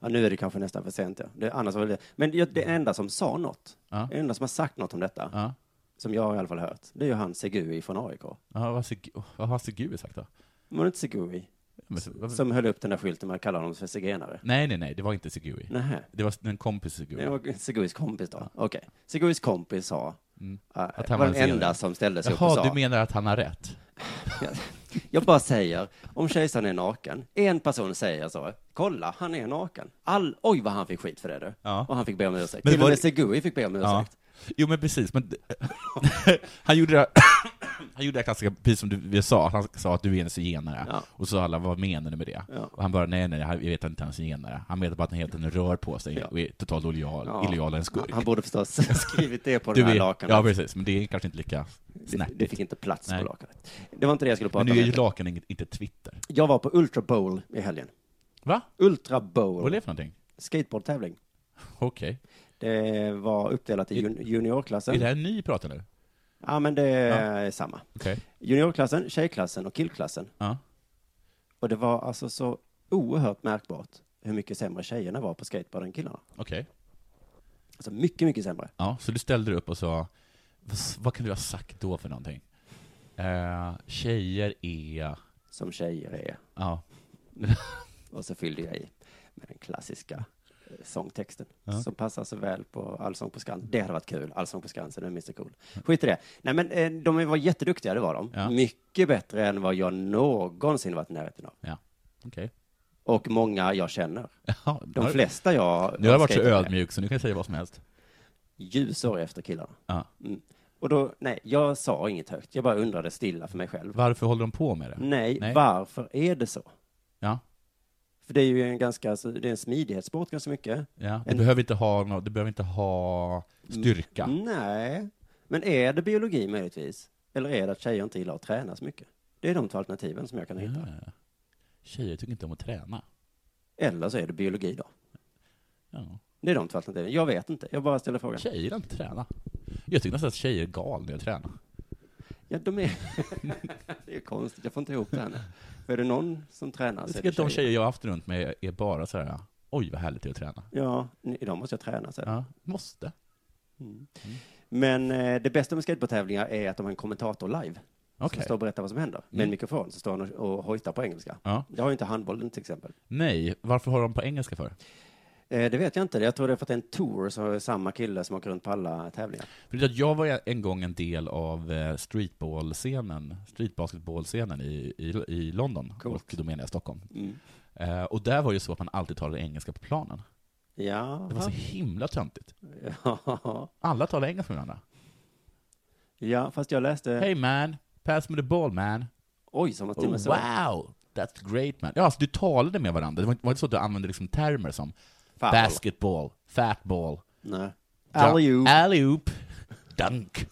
S5: Ja, nu är det kanske nästan för sent. Ja. Det, annars var det, men det det enda som sa något, det enda som har sagt något om detta, som jag i alla fall hört, det är ju han Segui från AIK.
S6: Ja, vad Segu- vad har Segui sagt då?
S5: Var det inte Segui?
S6: Men-
S5: Som höll upp den där skylten med att kalla honom för zigenare.
S6: Nej, nej, nej, det var inte Segui.
S5: Nähä.
S6: Det var en kompis till Segui.
S5: Det var Seguis kompis då? Okej. Seguis kompis sa, eh,
S6: Mm. Att han
S5: var
S6: var en
S5: den enda
S6: zigenare.
S5: som ställde sig
S6: Jaha,
S5: upp och sa.
S6: du menar att han har rätt?
S5: Jag bara säger, om kejsaren är naken, en person säger så, kolla, han är naken. All, oj vad han fick skit för det du. Och han fick be om ursäkt.
S6: Men
S5: Till och
S6: var
S5: med
S6: det-
S5: Segui fick be om ursäkt.
S6: Jo, men precis. Men han gjorde det Han gjorde det här klassiska, precis som du vi sa, att han sa att du är en zigenare. Och så alla, vad menar du med det? Och han bara, nej, nej, jag vet inte han är zigenare. Han menar bara att han hela tiden rör på sig och är totalt illojal,
S5: Ja.
S6: illojal och en skurk.
S5: Han borde förstås skrivit det på
S6: Du
S5: den här
S6: är-
S5: lakanet.
S6: Ja, precis. Men det är kanske inte lika
S5: Det,
S6: snärtigt.
S5: det fick inte plats
S6: Nej.
S5: på lakanet. Det var inte det jag skulle prata
S6: Men
S5: om.
S6: nu är ju
S5: egentligen.
S6: lakan inget- inte Twitter.
S5: Jag var på Ultra Bowl i helgen.
S6: Va?
S5: Ultra Bowl.
S6: Vad är det för någonting?
S5: Skateboardtävling.
S6: Okej.
S5: Det var uppdelat i jun- juniorklassen.
S6: Är det här en ny prat nu?
S5: Ja, men det är samma.
S6: Okej.
S5: Juniorklassen, tjejklassen och killklassen.
S6: Ja.
S5: Och det var alltså så oerhört märkbart hur mycket sämre tjejerna var på skateboard än killarna.
S6: Okej.
S5: Alltså mycket, mycket sämre.
S6: Ja, så du ställde dig upp och sa, vad, vad kan du ha sagt då för någonting? Eh, tjejer är...
S5: Som tjejer är.
S6: Ja.
S5: Och så fyllde jag i med den klassiska eh, sångtexten
S6: Ja.
S5: som passar så väl på Allsång på Skansen. Det hade varit kul, Allsång på Skansen och Mr Cool. Skit i det. Nej, men eh, de var jätteduktiga, det var de. Mycket bättre än vad jag någonsin varit i närheten av.
S6: Ja, okej.
S5: Och många jag känner.
S6: Ja, nu
S5: De
S6: har-
S5: flesta jag...
S6: Nu har jag varit så
S5: skateboardar med.
S6: ödmjuk så nu kan jag säga vad som helst.
S5: ljusår efter killarna.
S6: Ja.
S5: Mm. Och då, nej, jag sa inget högt. Jag bara undrade stilla för mig själv.
S6: Varför håller de på med det?
S5: Nej,
S6: Nej.
S5: varför är det så?
S6: Ja.
S5: För det är ju en ganska, alltså, det är en smidighetssport ganska mycket.
S6: Ja, du,
S5: En- Mm.
S6: behöver inte ha nå- du behöver inte ha styrka.
S5: Nej, men är det biologi möjligtvis? Eller är det att tjejer inte gillar att träna så mycket? Det är de två alternativen som jag kan hitta.
S6: Tjejer tycker inte om att träna.
S5: Eller så är det biologi då.
S6: Ja.
S5: Det är de två alternativen. Jag vet inte, jag bara ställer frågan.
S6: Tjejer gillar inte att träna. Jag tycker nästan att tjejer är galna när jag tränar.
S5: Ja, de är... det är konstigt, jag får inte ihop det här nu. För är det någon som tränar
S6: Jag
S5: så är
S6: tycker
S5: det
S6: att de
S5: tjejer.
S6: tjejer jag har haft runt mig är bara så här, oj vad härligt det är att träna.
S5: Ja, idag måste jag träna sen.
S6: Ja, måste.
S5: Mm. Men eh, det bästa med skateboardtävlingar är att de har en kommentator live. Som
S6: Okej.
S5: står och berättar vad som händer. Med en
S6: Mm.
S5: mikrofon så står han och, och hojtar på engelska.
S6: Ja.
S5: Det har ju inte handbollen till exempel.
S6: Nej, varför har de på engelska för?
S5: Eh, det vet jag inte. Jag tror det är för att det är en tour så är samma kille som åker runt på alla tävlingar.
S6: För att jag var en gång en del av eh, streetball-scenen, streetbasketball-scenen i, i, i London, och då menar jag Stockholm.
S5: Mm.
S6: Eh, och där var det ju så att man alltid talade engelska på planen.
S5: Ja.
S6: Det var så himla töntigt.
S5: Ja.
S6: Alla talade engelska med varandra.
S5: ja, fast jag läste...
S6: Hey man, pass me the ball man.
S5: Oj, som att till och med så.
S6: Oh, Wow, that's great man. Ja, alltså du talade med varandra. Det var inte var inte så att du använde liksom termer som
S5: Foul.
S6: basketball, fatball,
S5: Nej.
S6: Ja,
S5: Alley-oop.
S6: alley-oop, dunk.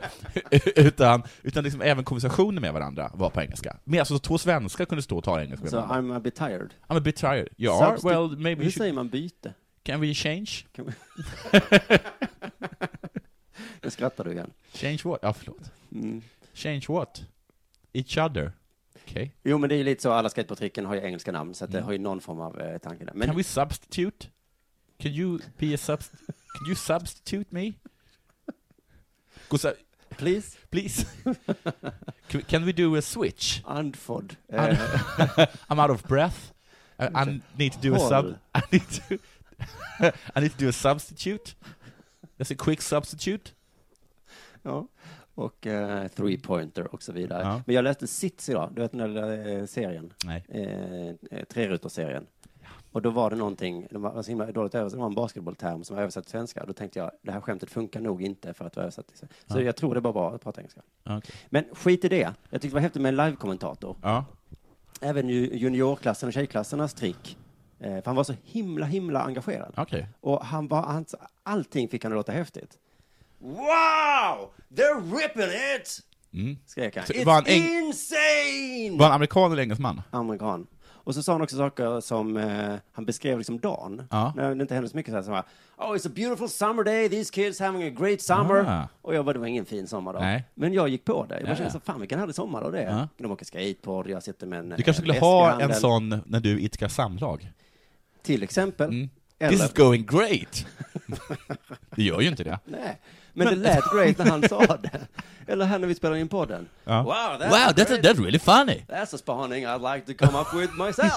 S6: utan utan liksom även konversationer med varandra var på engelska. Men alltså två svenskar kunde stå och tala engelska med
S5: Så
S6: varandra.
S5: I'm a bit tired.
S6: I'm a bit tired. You are?
S5: Substi-
S6: Well, maybe
S5: Hur
S6: you
S5: säger
S6: should...
S5: man byte?
S6: Can we change?
S5: Kan vi... nu skrattar du igen.
S6: Change what? Ja, förlåt.
S5: Mm.
S6: Change what? Each other? Okej.
S5: Jo, men det är ju lite så, alla skateboardtricken har ju engelska namn, så att det
S6: Mm.
S5: har ju någon form av eh, tanke där. Men
S6: Can we substitute? Can you be a subst... Can you substitute me? Gå så här-
S5: Please?
S6: Please? Can we- Can we do a switch?
S5: Andfod.
S6: I'm, I'm out of breath. Uh, I, I need to do a sub...
S5: Håll.
S6: I need to... I need to do a substitute. That's a quick substitute.
S5: Ja. Och eh, three-pointer och så vidare. Men jag läste Sits idag, du vet den där eh, serien?
S6: Nej.
S5: Eh, eh, Trerutor-serien. Och då var det någonting, de var så himla dåligt översatt, det var en basketbollterm som var översatt till svenska. Då tänkte jag, det här skämtet funkar nog inte för att vara översatt till svenska. Så
S6: Ja.
S5: jag tror det bara var att prata engelska.
S6: Okej.
S5: Men skit i det, jag tyckte det var häftigt med en live-kommentator.
S6: Ja.
S5: Även ju- juniorklassen och tjejklassernas trick. Eh, för han var så himla, himla engagerad.
S6: Okej.
S5: Och han var, han, allting fick han att låta häftigt. Wow! They're ripping it!
S6: Mm.
S5: Skrek han.
S6: Så
S5: It's
S6: var han eng-
S5: insane!
S6: Var han amerikan eller engelsman?
S5: Amerikan. Och så sa han också saker som, eh, han beskrev liksom dagen,
S6: Ja.
S5: när det inte hände så mycket. Så här, så här, oh, it's a beautiful summer day, these kids having a great summer.
S6: Ah.
S5: Och jag bara, det var ingen fin sommardag.
S6: Nej.
S5: Men jag gick på det. Jag bara
S6: Ja,
S5: kände
S6: ja.
S5: så, fan vilken härlig sommardag det är.
S6: Ja.
S5: De åker skateboard, jag sitter med en
S6: Du kanske
S5: eh,
S6: skulle ha en
S5: väskhandel.
S6: sån när du idkar samlag?
S5: Till exempel.
S6: Mm. This is going great! det gör ju inte det.
S5: Nej, men, det lät great när han sa det. Eller här när vi spelade in podden.
S6: Ja.
S5: Wow, that's,
S6: Wow, that's-
S5: great.
S6: that's really funny.
S5: That's a spaning I'd like to come up with myself.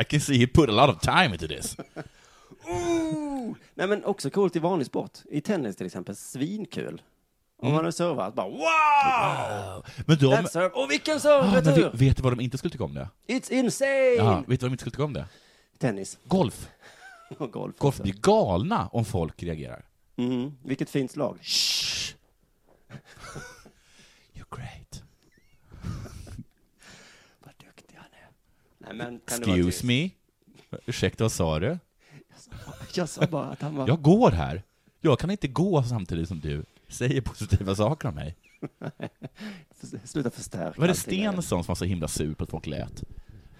S6: I can see he put a lot of time into this.
S5: Ooh! Nej, men också coolt i vanlig sport. I tennis till exempel, svinkul. Om
S6: Mm.
S5: man har servat, bara wow! wow.
S6: Men de-
S5: That serve. Och vilken serve!
S6: Ah,
S5: vet
S6: men
S5: du?
S6: vet, vet du vad de inte skulle tycka om det?
S5: It's insane!
S6: Ja, vet du vad de inte skulle tycka om det?
S5: Tennis.
S6: Golf.
S5: Och golf.
S6: Golf
S5: också.
S6: blir galna om folk reagerar.
S5: Mm, vilket fint slag.
S6: You're great.
S5: Nej, men, kan det vara tyst?
S6: Excuse me? Ursäkta, vad sa du?
S5: Jag sa bara att han var...
S6: Jag går här. Jag kan inte gå samtidigt som du säger positiva saker om mig.
S5: Sluta förstärka.
S6: Var det
S5: allting.
S6: Stensson som var så himla sur på att folk lät?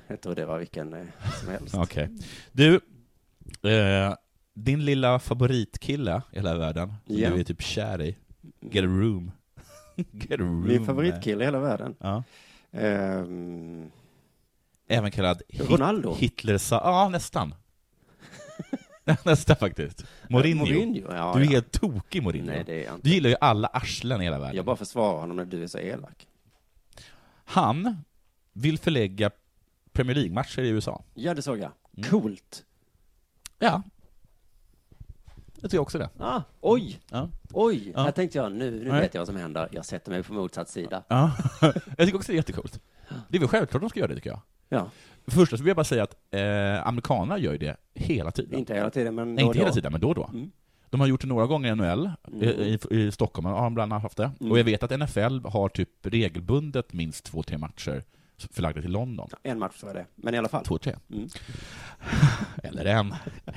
S5: Jag tror det var vilken eh, som helst.
S6: Okej. Du, eh, din lilla favoritkille i hela världen, som
S5: Ja.
S6: du är typ kär i, get a room. get a room.
S5: Min favoritkille i hela världen.
S6: Mm, Ja.
S5: Ehm,
S6: Även kallad Hit-
S5: Ronaldo.
S6: Hitler sa, ja nästan. nästan faktiskt. Mourinho.
S5: Mourinho, ja,
S6: du är
S5: ja.
S6: helt tokig Mourinho.
S5: Nej, det är jag inte.
S6: Du gillar ju alla arslen i hela världen.
S5: Jag bara försvarar honom när du är så elak.
S6: Han vill förlägga Premier League-matcher i USA.
S5: Ja, det såg jag.
S6: Mm.
S5: Coolt.
S6: Ja. Jag tycker också det.
S5: Ah, oj!
S6: Ja.
S5: Oj!
S6: Ja.
S5: Här tänkte jag, nu, nu
S6: Nej.
S5: vet jag vad som händer. Jag sätter mig på motsatt sida.
S6: Ja. jag tycker också det är jättekult. Det är väl självklart de ska göra det, tycker jag.
S5: Ja.
S6: För det första så vill jag bara säga att eh, amerikanerna gör ju det hela tiden.
S5: Inte hela tiden, men
S6: Nej,
S5: då och
S6: inte hela
S5: då.
S6: tiden, men då och då.
S5: Mm.
S6: De har gjort det några gånger i NHL, i, i, i Stockholm har de bland annat haft det.
S5: Mm.
S6: Och jag vet att NFL har typ regelbundet minst två, tre matcher förlagda till London.
S5: En match så är det, men i alla fall.
S6: Två, tre.
S5: Mm.
S6: Eller en.
S5: Nej,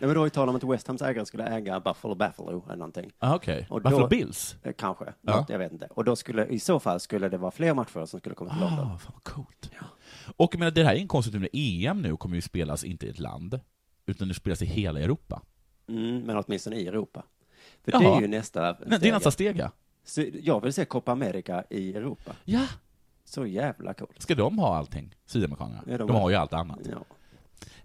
S5: men då var ju tal om att West Hams ägare skulle äga Buffalo Buffalo eller någonting.
S6: Ah, Okej.
S5: Och då-
S6: Buffalo Bills?
S5: Eh, Kanske,
S6: Ja.
S5: Något, jag vet inte. Och då skulle, i så fall skulle det vara fler matcher som skulle komma till London.
S6: Ah, fan vad coolt. Och jag menar, det här är en konstigt med EM nu kommer ju spelas inte i ett land, utan det spelas i hela Europa.
S5: Mm, men åtminstone i Europa. För det
S6: Jaha.
S5: är ju nästa
S6: Nej, det är nästa steg, ja.
S5: Så jag vill se Copa America i Europa.
S6: Ja.
S5: Så jävla coolt.
S6: Ska de ha allting, sydamerikanerna?
S5: Ja, de
S6: de,
S5: har-
S6: har ju allt annat.
S5: Ja.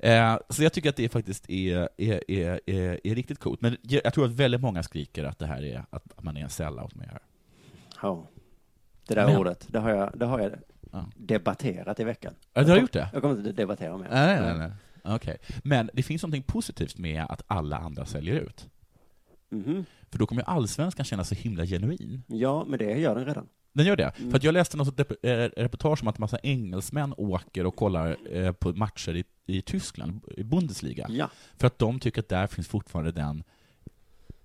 S6: Eh, så jag tycker att det faktiskt är, är, är, är, är riktigt coolt. Men jag jag tror att väldigt många skriker att det här är att att man är en sellout med det här.
S5: Ja. Det där
S6: Men-
S5: ordet, det har jag, det har jag debatterat i veckan.
S6: Ja, du har gjort det?
S5: Jag kommer inte debattera mer.
S6: Nej, nej, nej. nej. Eh, Okej. Men det finns någonting positivt med att alla andra säljer ut.
S5: Mhm.
S6: För då kommer ju allsvenskan kännas så himla genuin.
S5: Ja, men det gör den redan.
S6: Den gör det?
S5: Mm.
S6: För att jag läste något dep- eh, reportage om att en massa engelsmän åker och kollar eh, på matcher i, i Tyskland, i Bundesliga.
S5: Ja.
S6: För att de tycker att där finns fortfarande den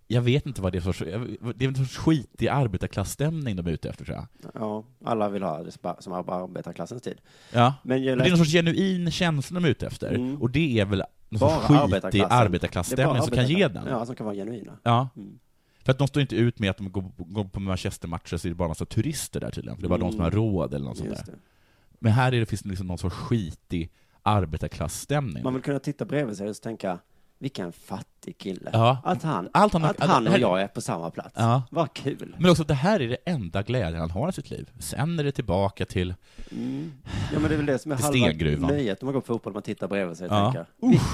S6: jag vet inte vad det är för sorts, jag- det är en sorts skitig arbetarklassstämning de är ute efter tror jag.
S5: Ja, alla vill ha det spa- som har på arbetarklassens tid.
S6: Ja.
S5: Men jag
S6: det är
S5: läste-
S6: någon sorts genuin känsla de är ute efter.
S5: Mm.
S6: Och det är väl någon sorts
S5: Bara
S6: skitig
S5: arbetarklassen. Det är
S6: arbetarklassstämning
S5: bara
S6: som kan ge den.
S5: arbetarklassen. Ja, som kan vara genuina.
S6: Ja. Mm. För att de står inte ut med att de går, går på Manchester-matcher så är det bara en massa turister där tydligen. För det är bara de som har
S5: Mm.
S6: råd eller något sånt
S5: Just
S6: där. Men här är det, finns det liksom någon sorts skitig arbetarklassstämning.
S5: Man vill kunna titta bredvid sig och så tänka, vilken fattig kille.
S6: Ja.
S5: Att han,
S6: Allt han-
S5: att han och
S6: här-
S5: jag är på samma plats.
S6: Ja.
S5: Vad kul.
S6: Men också att det här är det enda glädjen han har i sitt liv. Sen är det tillbaka till...
S5: Mm. Ja, men det är väl det som är
S6: Till
S5: halva
S6: stengruvan.
S5: nöjet när man går på fotboll, man tittar bredvid sig och
S6: Ja.
S5: tänker,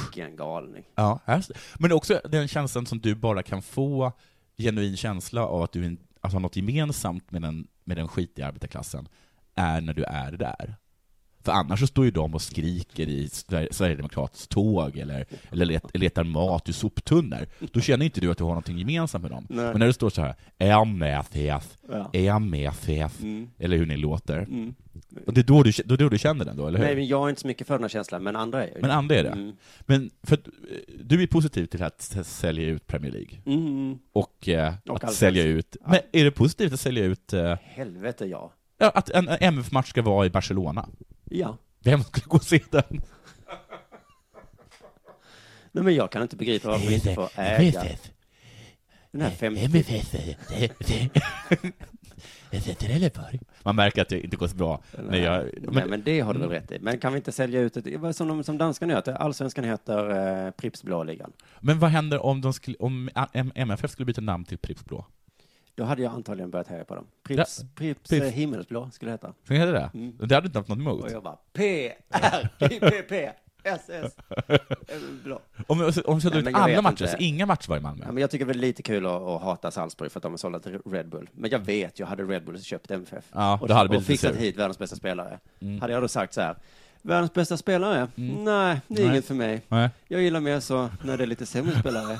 S5: vilken galning.
S6: Ja, här, men också den känslan som du bara kan få, genuin känsla av att du är en- att har något gemensamt med den, med den skitiga arbetarklassen, är när du är där. För annars så står ju de och skriker i Sver- Sverigedemokraternas tåg eller, eller let- letar mat ur soptunnor. Då känner inte du att du har någonting gemensamt med dem.
S5: Nej.
S6: Men när du står så här, är jag med FF?
S5: Ja.
S6: Är jag med FF?
S5: Mm.
S6: Eller hur ni låter.
S5: Mm.
S6: Och det är då du, då, då du känner den då, eller hur?
S5: Nej, men jag är inte så mycket för den här känslan, men andra är ju
S6: Men andra är det.
S5: Mm.
S6: Men för att, eh, du är positiv till att s- sälja ut Premier League.
S5: Mm.
S6: Och, eh,
S5: Och
S6: att
S5: allsvenskan.
S6: sälja ut... Men är det positivt att sälja ut... Eh,
S5: Helvete ja.
S6: ja, att en MF-match ska vara i Barcelona?
S5: Ja.
S6: Vem skulle gå och se den?
S5: Nej, men jag kan inte begripa varför vi inte får äga.
S6: Precis.
S5: Den här fem...
S6: Man märker att det inte går så bra. När jag,
S5: Nej, men det har du väl rätt i. Men kan vi inte sälja ut det? Vad Som, de, som danskarna heter. Allsvenskan heter eh, Pripps blå ligan.
S6: Men vad händer om, de skulle, om A- M- MFF skulle byta namn till Pripps Blå?
S5: Då hade jag antagligen börjat heja på dem. Pripps, Pripps,
S6: Pripps.
S5: eh, himmelsblå skulle det heta.
S6: Så heter det?
S5: Mm.
S6: Det hade du inte haft något emot?
S5: Och jag bara P, R, I, P, P, S, S. Eh, Blå.
S6: Om vi om vi säljer
S5: Nej, men
S6: ut
S5: jag
S6: alla
S5: vet
S6: matcher,
S5: inte.
S6: så inga matcher var i Malmö?
S5: Ja, men jag tycker väl det är lite kul att, att hata Salzburg för att de har sålt till Red Bull. Men jag vet, jag hade Red Bull köpt MFF.
S6: Ja,
S5: och
S6: då hade det
S5: och
S6: blivit
S5: fixat
S6: sur.
S5: hit världens bästa spelare.
S6: Mm.
S5: Hade jag då sagt så här, världens bästa spelare? Nej, det
S6: Nej.
S5: är inget för mig.
S6: Nej.
S5: Jag gillar mer så när det är lite sämre spelare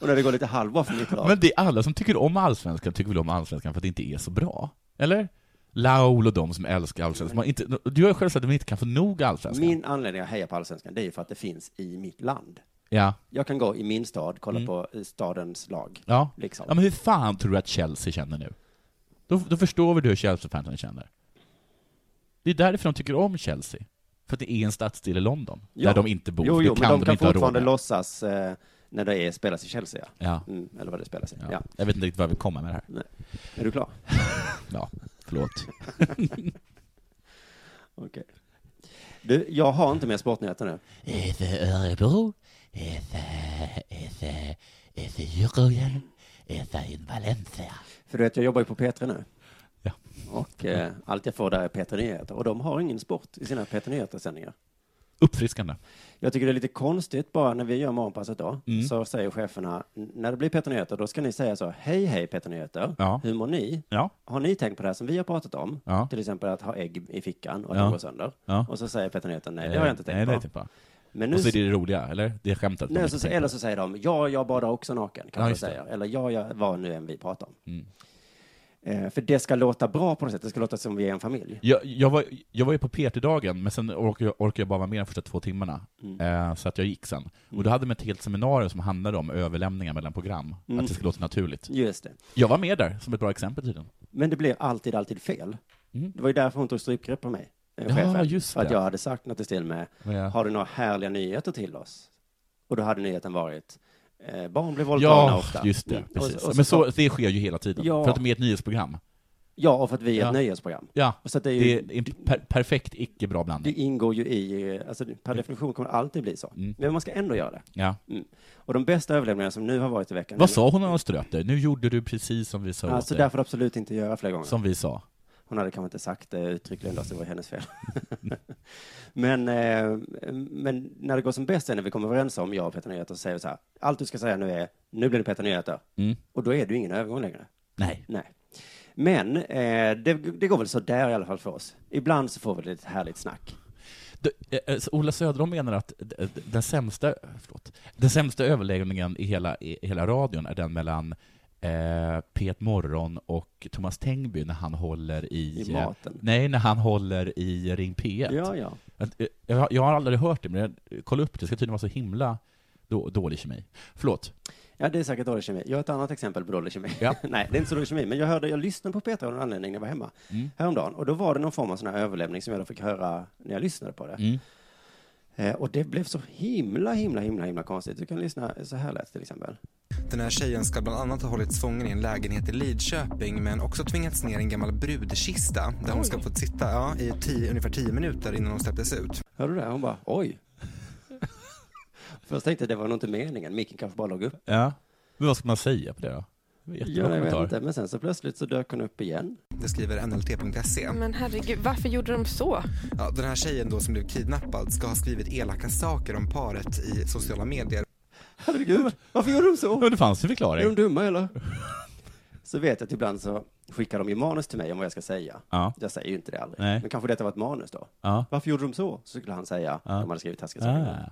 S5: och när det går lite halvbra för mitt lag.
S6: Men det är alla som tycker om allsvenskan, tycker väl om allsvenskan för att det inte är så bra? Eller? Laul och de som älskar allsvenskan. Man inte, du har ju själv sagt att man inte kan få nog allsvenskan.
S5: Min anledning att heja på Allsvenskan, det är ju för att det finns i mitt land.
S6: Ja.
S5: Jag kan gå i min stad, kolla
S6: Mm.
S5: på eh, stadens lag.
S6: Ja.
S5: Liksom.
S6: ja. Men hur fan tror du att Chelsea känner nu? Då, då förstår vi hur Chelsea-fansen känner. Det är därför de tycker om Chelsea. För att det är en stadsdel i London,
S5: Ja.
S6: där de inte bor.
S5: Jo,
S6: för
S5: jo
S6: det
S5: men de,
S6: kan de,
S5: kan
S6: inte ha råd
S5: fortfarande
S6: med.
S5: låtsas eh, när det är, spelas i Chelsea,
S6: Ja.
S5: Mm, eller vad det spelas i. Ja.
S6: Ja. Jag vet inte riktigt vad jag vill komma med det här.
S5: Nej. Är du klar?
S6: Ja, förlåt.
S5: Okej. Du, jag har inte mer sportnyheter nu.
S10: If Örebro, if, if, if Djurgården, if in Valencia.
S5: För du vet, jag jobbar ju på P3 nu.
S6: Ja.
S5: Och
S6: Mm.
S5: eh, allt jag får där är P3 Nyheter. Och de har ingen sport i sina P3 Nyheter-sändningar.
S6: Uppfriskande.
S5: Jag tycker det är lite konstigt bara när vi gör morgonpasset då,
S6: Mm.
S5: så säger cheferna, "N- när det blir Peter Nyheter, då ska ni säga så, hej hej Peter Nyheter,
S6: Ja.
S5: hur mår ni?
S6: Ja.
S5: Har ni tänkt på det här som vi har pratat om?
S6: Ja.
S5: Till exempel att ha ägg i fickan och att
S6: Ja.
S5: de går sönder.
S6: Ja. Eh,
S5: Och så säger Peter Nyheter, nej det har jag inte tänkt
S6: Nej,
S5: på.
S6: det har jag inte tänkt på.
S5: Men nu
S6: Och så är det det roliga, eller? Det är skämtet.
S5: Nej, så, eller så säger de, ja, jag badar också naken,
S6: Ja,
S5: kan man
S6: just det.
S5: säga. Eller ja, jag, vad nu än vi pratar om.
S6: Mm.
S5: Eh, för det ska låta bra på något sätt, det ska låta som vi är en familj.
S6: Jag, jag, var, jag var ju på PT-dagen, men sen orkade jag, orkade jag bara vara med de första två timmarna,
S5: Mm.
S6: eh, så att jag gick sen. Och då hade de ett helt seminarium som handlade om överlämningar mellan program,
S5: Mm.
S6: att det skulle låta naturligt.
S5: Just det.
S6: Jag var med där, som ett bra exempel tydligen.
S5: Men det blev alltid, alltid fel. Det var ju därför hon tog strypgrepp på mig, eh,
S6: Ja,
S5: chefen.
S6: Mm. just
S5: för att
S6: det.
S5: jag hade sagt något i stil med,
S6: Ja.
S5: har du några härliga nyheter till oss? Och då hade nyheten varit, eh, barn blir våldtagna
S6: Ja,
S5: ofta.
S6: just det.
S5: Mm. Och så-
S6: Precis.
S5: och så-
S6: men så, det sker ju hela tiden,
S5: Ja.
S6: för att de är ett nyhetsprogram.
S5: Ja, och för att vi är ett
S6: Ja.
S5: nöjesprogram.
S6: Ja,
S5: Och så att det,
S6: det
S5: är
S6: är,
S5: ju,
S6: en per, perfekt icke-bra
S5: det
S6: blandning.
S5: ingår ju i, eh, alltså per definition kommer det alltid bli så.
S6: Mm.
S5: Men man ska ändå göra det.
S6: Ja.
S5: Mm. Och de bästa överlevnaderna som nu har varit i veckan.
S6: Vad sa hon när hon ströp dig? Nu gjorde du precis som vi sa åt
S5: Alltså,
S6: dig.
S5: där får du absolut inte göra fler gånger.
S6: Som vi sa.
S5: Hon hade kanske inte sagt det uttryckligen, då, så det var hennes fel. men, eh, men när det går som bäst är när vi kommer överens om, jag och Peter Nyheter, så säger vi så här, allt du ska säga nu är, nu blir det Peter Nyheter.
S6: Mm.
S5: Och då är det ju ingen övergång längre.
S6: Nej.
S5: Nej. Men eh, det, det går väl så där i alla fall för oss. Ibland så får vi lite härligt snack.
S6: Du, eh, eh, så Ola Söderholm menar att d- d- den sämsta, förlåt, den sämsta överläggningen i hela, i hela radion är den mellan eh, P1 Morgon och Thomas Tengby när han håller i...
S5: I maten.
S6: eh, Nej, när han håller i Ring P1.
S5: Ja, ja.
S6: Att, eh, Jag, jag har aldrig hört det, men jag, kolla upp det. Det ska tydligen vara så himla då, dålig kemi. Förlåt.
S5: Ja, det är säkert dålig kemi. Jag har ett annat exempel på dålig kemi. Nej, det är inte så dålig kemi, men jag hörde, jag lyssnade på Peter av någon anledning när jag var hemma
S6: Mm.
S5: häromdagen, och då var det någon form av sån här överlämning som jag då fick höra när jag lyssnade på det.
S6: Mm.
S5: Eh, och det blev så himla, himla, himla, himla konstigt. Du kan lyssna så här lätt till exempel.
S11: Den här tjejen ska bland annat ha hållits fången i en lägenhet i Lidköping men också tvingats ner i en gammal brudkista där hon ska få sitta ja, i tio, ungefär tio minuter innan hon släpptes ut.
S5: Hör du det? Hon bara, oj. Först tänkte jag det var nog inte meningen, micken kanske bara låg upp.
S6: Ja. Men vad ska man säga på det då? Det var en jättebra
S5: Ja, jag vet
S6: kommentar.
S5: inte, men sen så plötsligt så dök hon upp igen.
S11: Det skriver NLT.se.
S12: Men herregud, varför gjorde de så?
S11: E. Ja, den här tjejen då som blev kidnappad ska ha skrivit elaka saker om paret i sociala medier.
S5: Herregud, varför gjorde de så?
S6: Ja, det fanns en
S5: Är de
S6: förklaring.
S5: dumma eller? Så vet jag att ibland så skickar de ju manus till mig om vad jag ska säga.
S6: Ja.
S5: Jag säger ju inte det aldrig.
S6: Nej.
S5: Men kanske detta var ett manus då.
S6: Ja.
S5: Varför gjorde de så? Så skulle han säga, om han hade skrivit taskiga saker.
S6: Ah.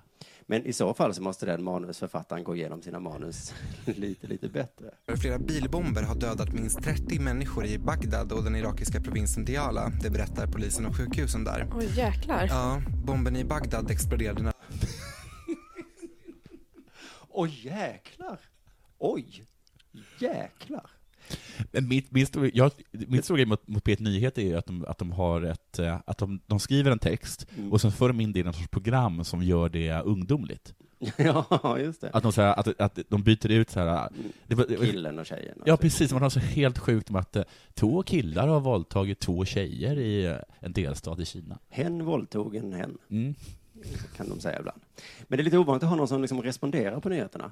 S5: Men i så fall så måste den manusförfattaren gå igenom sina manus lite, lite bättre.
S11: Flera bilbomber har dödat minst 30 människor i Bagdad och den irakiska provinsen Diyala. Det berättar polisen och sjukhusen där.
S12: Oj jäklar.
S11: Ja, bomben i Bagdad exploderade när...
S5: Oj, jäklar! Oj! Jäklar!
S6: Men mitt, min stor- jag, min stora grej mot, mot P1 Nyheter är ju att de, att de har ett,
S5: Mm.
S6: eh, att de, de skriver en text, och sen för de in det i någon sorts program som gör det ungdomligt.
S5: ja, just det.
S6: Att de, så här, att, att de byter ut så här...
S5: Mm.
S6: Det, var- det, var-
S5: Killen och tjejen.
S6: Ja, precis. Man har så helt sjukt om att eh, två killar har våldtagit två tjejer i eh, en delstat i Kina.
S5: Hen våldtog en hen. Kan de säga ibland. Men det är lite ovanligt att ha någon som liksom responderar på nyheterna.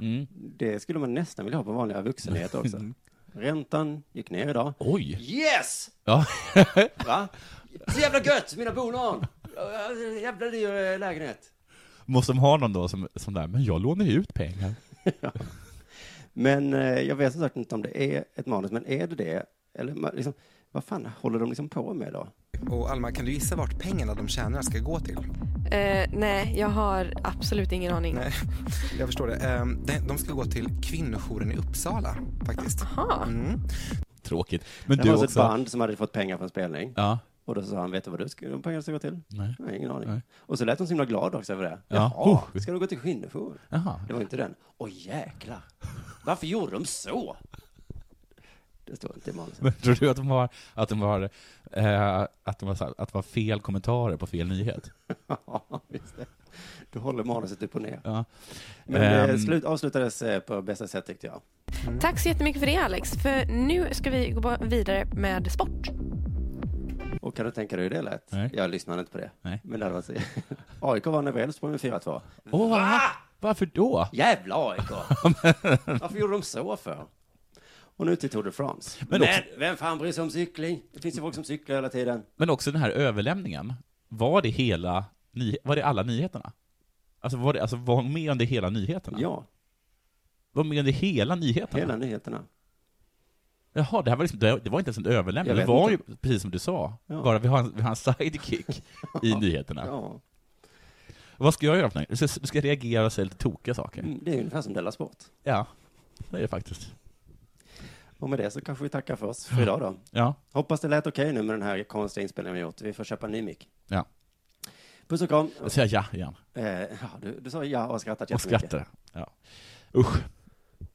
S5: Det skulle man nästan vilja ha på vanliga vuxennyheter också. Räntan gick ner idag.
S6: Oj!
S5: Yes!
S6: Ja.
S5: Va? Så jävla gött, mina bolån! Äh, Jävla dyr eh, lägenhet.
S6: Måste de ha någon då som, som där, men jag lånar ju ut pengar.
S5: Men eh, jag vet som sagt inte om det är ett manus, men är det det? Eller ma- liksom, vad fan håller de liksom på med då?
S13: Och Alma, kan du gissa vart pengarna de tjänar ska gå till?
S3: Eh, nej, jag har absolut ingen aning.
S13: Nej, jag förstår det. Ehm, de- De ska gå till kvinnojouren i Uppsala, faktiskt.
S3: Aha.
S13: Mm.
S6: Tråkigt. Men
S5: det
S6: du
S5: var alltså
S6: också.
S5: ett band som hade fått pengar för en spelning.
S6: Ja.
S5: Och då sa han, vet du vad du ska, de pengarna ska gå till?
S6: Nej.
S5: ingen aning. Och så lät de så himla glada också över det.
S6: Ja.
S5: Jaha,
S6: Oh.
S5: ska de gå till kvinnojouren?
S6: Jaha.
S5: Det var inte den. Åh jäklar, varför gjorde de så? Det står inte i manuset.
S6: Men tror du att de har, att de har, eh, att de har, så här- att det var fel kommentarer på fel nyhet?
S5: Ja, visst det. Du håller manuset upp och ner.
S6: Ja.
S5: Men
S6: Ehm.
S5: um... slut, avslutades eh, på bästa sätt tyckte jag.
S3: Tack så jättemycket för det Alex, för nu ska vi gå vidare med sport.
S5: Och kan du tänka dig hur det lät? Jag lyssnade inte på det. Men det hade varit så. AIK vann över Elfsborg med 4-2.
S6: Åh,
S5: Ah!
S6: varför då?
S5: Jävla AIK! Varför gjorde de så för? Och nu till Tour de France. Men,
S6: Men också-
S5: vem fan bryr sig om cykling? Det finns ju folk som cyklar hela tiden.
S6: Men också den här överlämningen, var det hela, ny- var det alla nyheterna? Alltså var, det, alltså var hon med under hela nyheterna?
S5: Ja.
S6: Var hon med under hela nyheterna?
S5: Hela nyheterna.
S6: Jaha, det, här var liksom, det det var inte ens en överlämning,
S5: Jag
S6: det
S5: vet
S6: var
S5: inte.
S6: ju precis som du sa,
S5: Ja.
S6: bara vi har, en, vi har en sidekick i nyheterna.
S5: Ja.
S6: Vad ska jag göra för någonting? Jag ska, ska reagera och säga lite tokiga saker.
S5: Mm, Det är ungefär som Della Sport.
S6: Ja, det är det faktiskt.
S5: Och med det så kanske vi tackar för oss för idag då.
S6: Ja.
S5: Hoppas det lät okej nu med den här konstiga inspelningen vi gjort. Vi får köpa en ny mick.
S6: Ja.
S5: Puss och kram.
S6: Jag säger ja igen.
S5: Eh, ja, du, du sa ja och
S6: Och
S5: skrattat jättemycket.
S6: skrattar. Ja. Usch.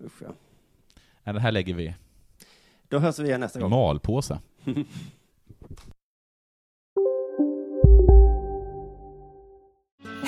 S5: Usch, ja.
S6: Nej, det här lägger vi
S5: Då hörs vi igen nästa
S6: i
S5: gång.
S6: malpåse.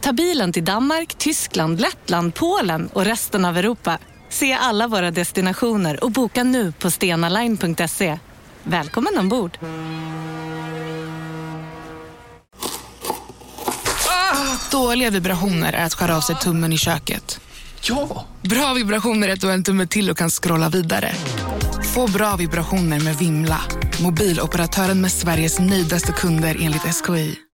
S1: Ta bilen till Danmark, Tyskland, Lettland, Polen och resten av Europa. Se alla våra destinationer och boka nu på stenaline.se. Välkommen ombord!
S14: Ah, Dåliga vibrationer är att skära av sig tummen i köket. Ja! Bra vibrationer är att du har en tumme till och kan scrolla vidare. Få bra vibrationer med Vimla. Mobiloperatören med Sveriges nöjdaste kunder enligt SKI.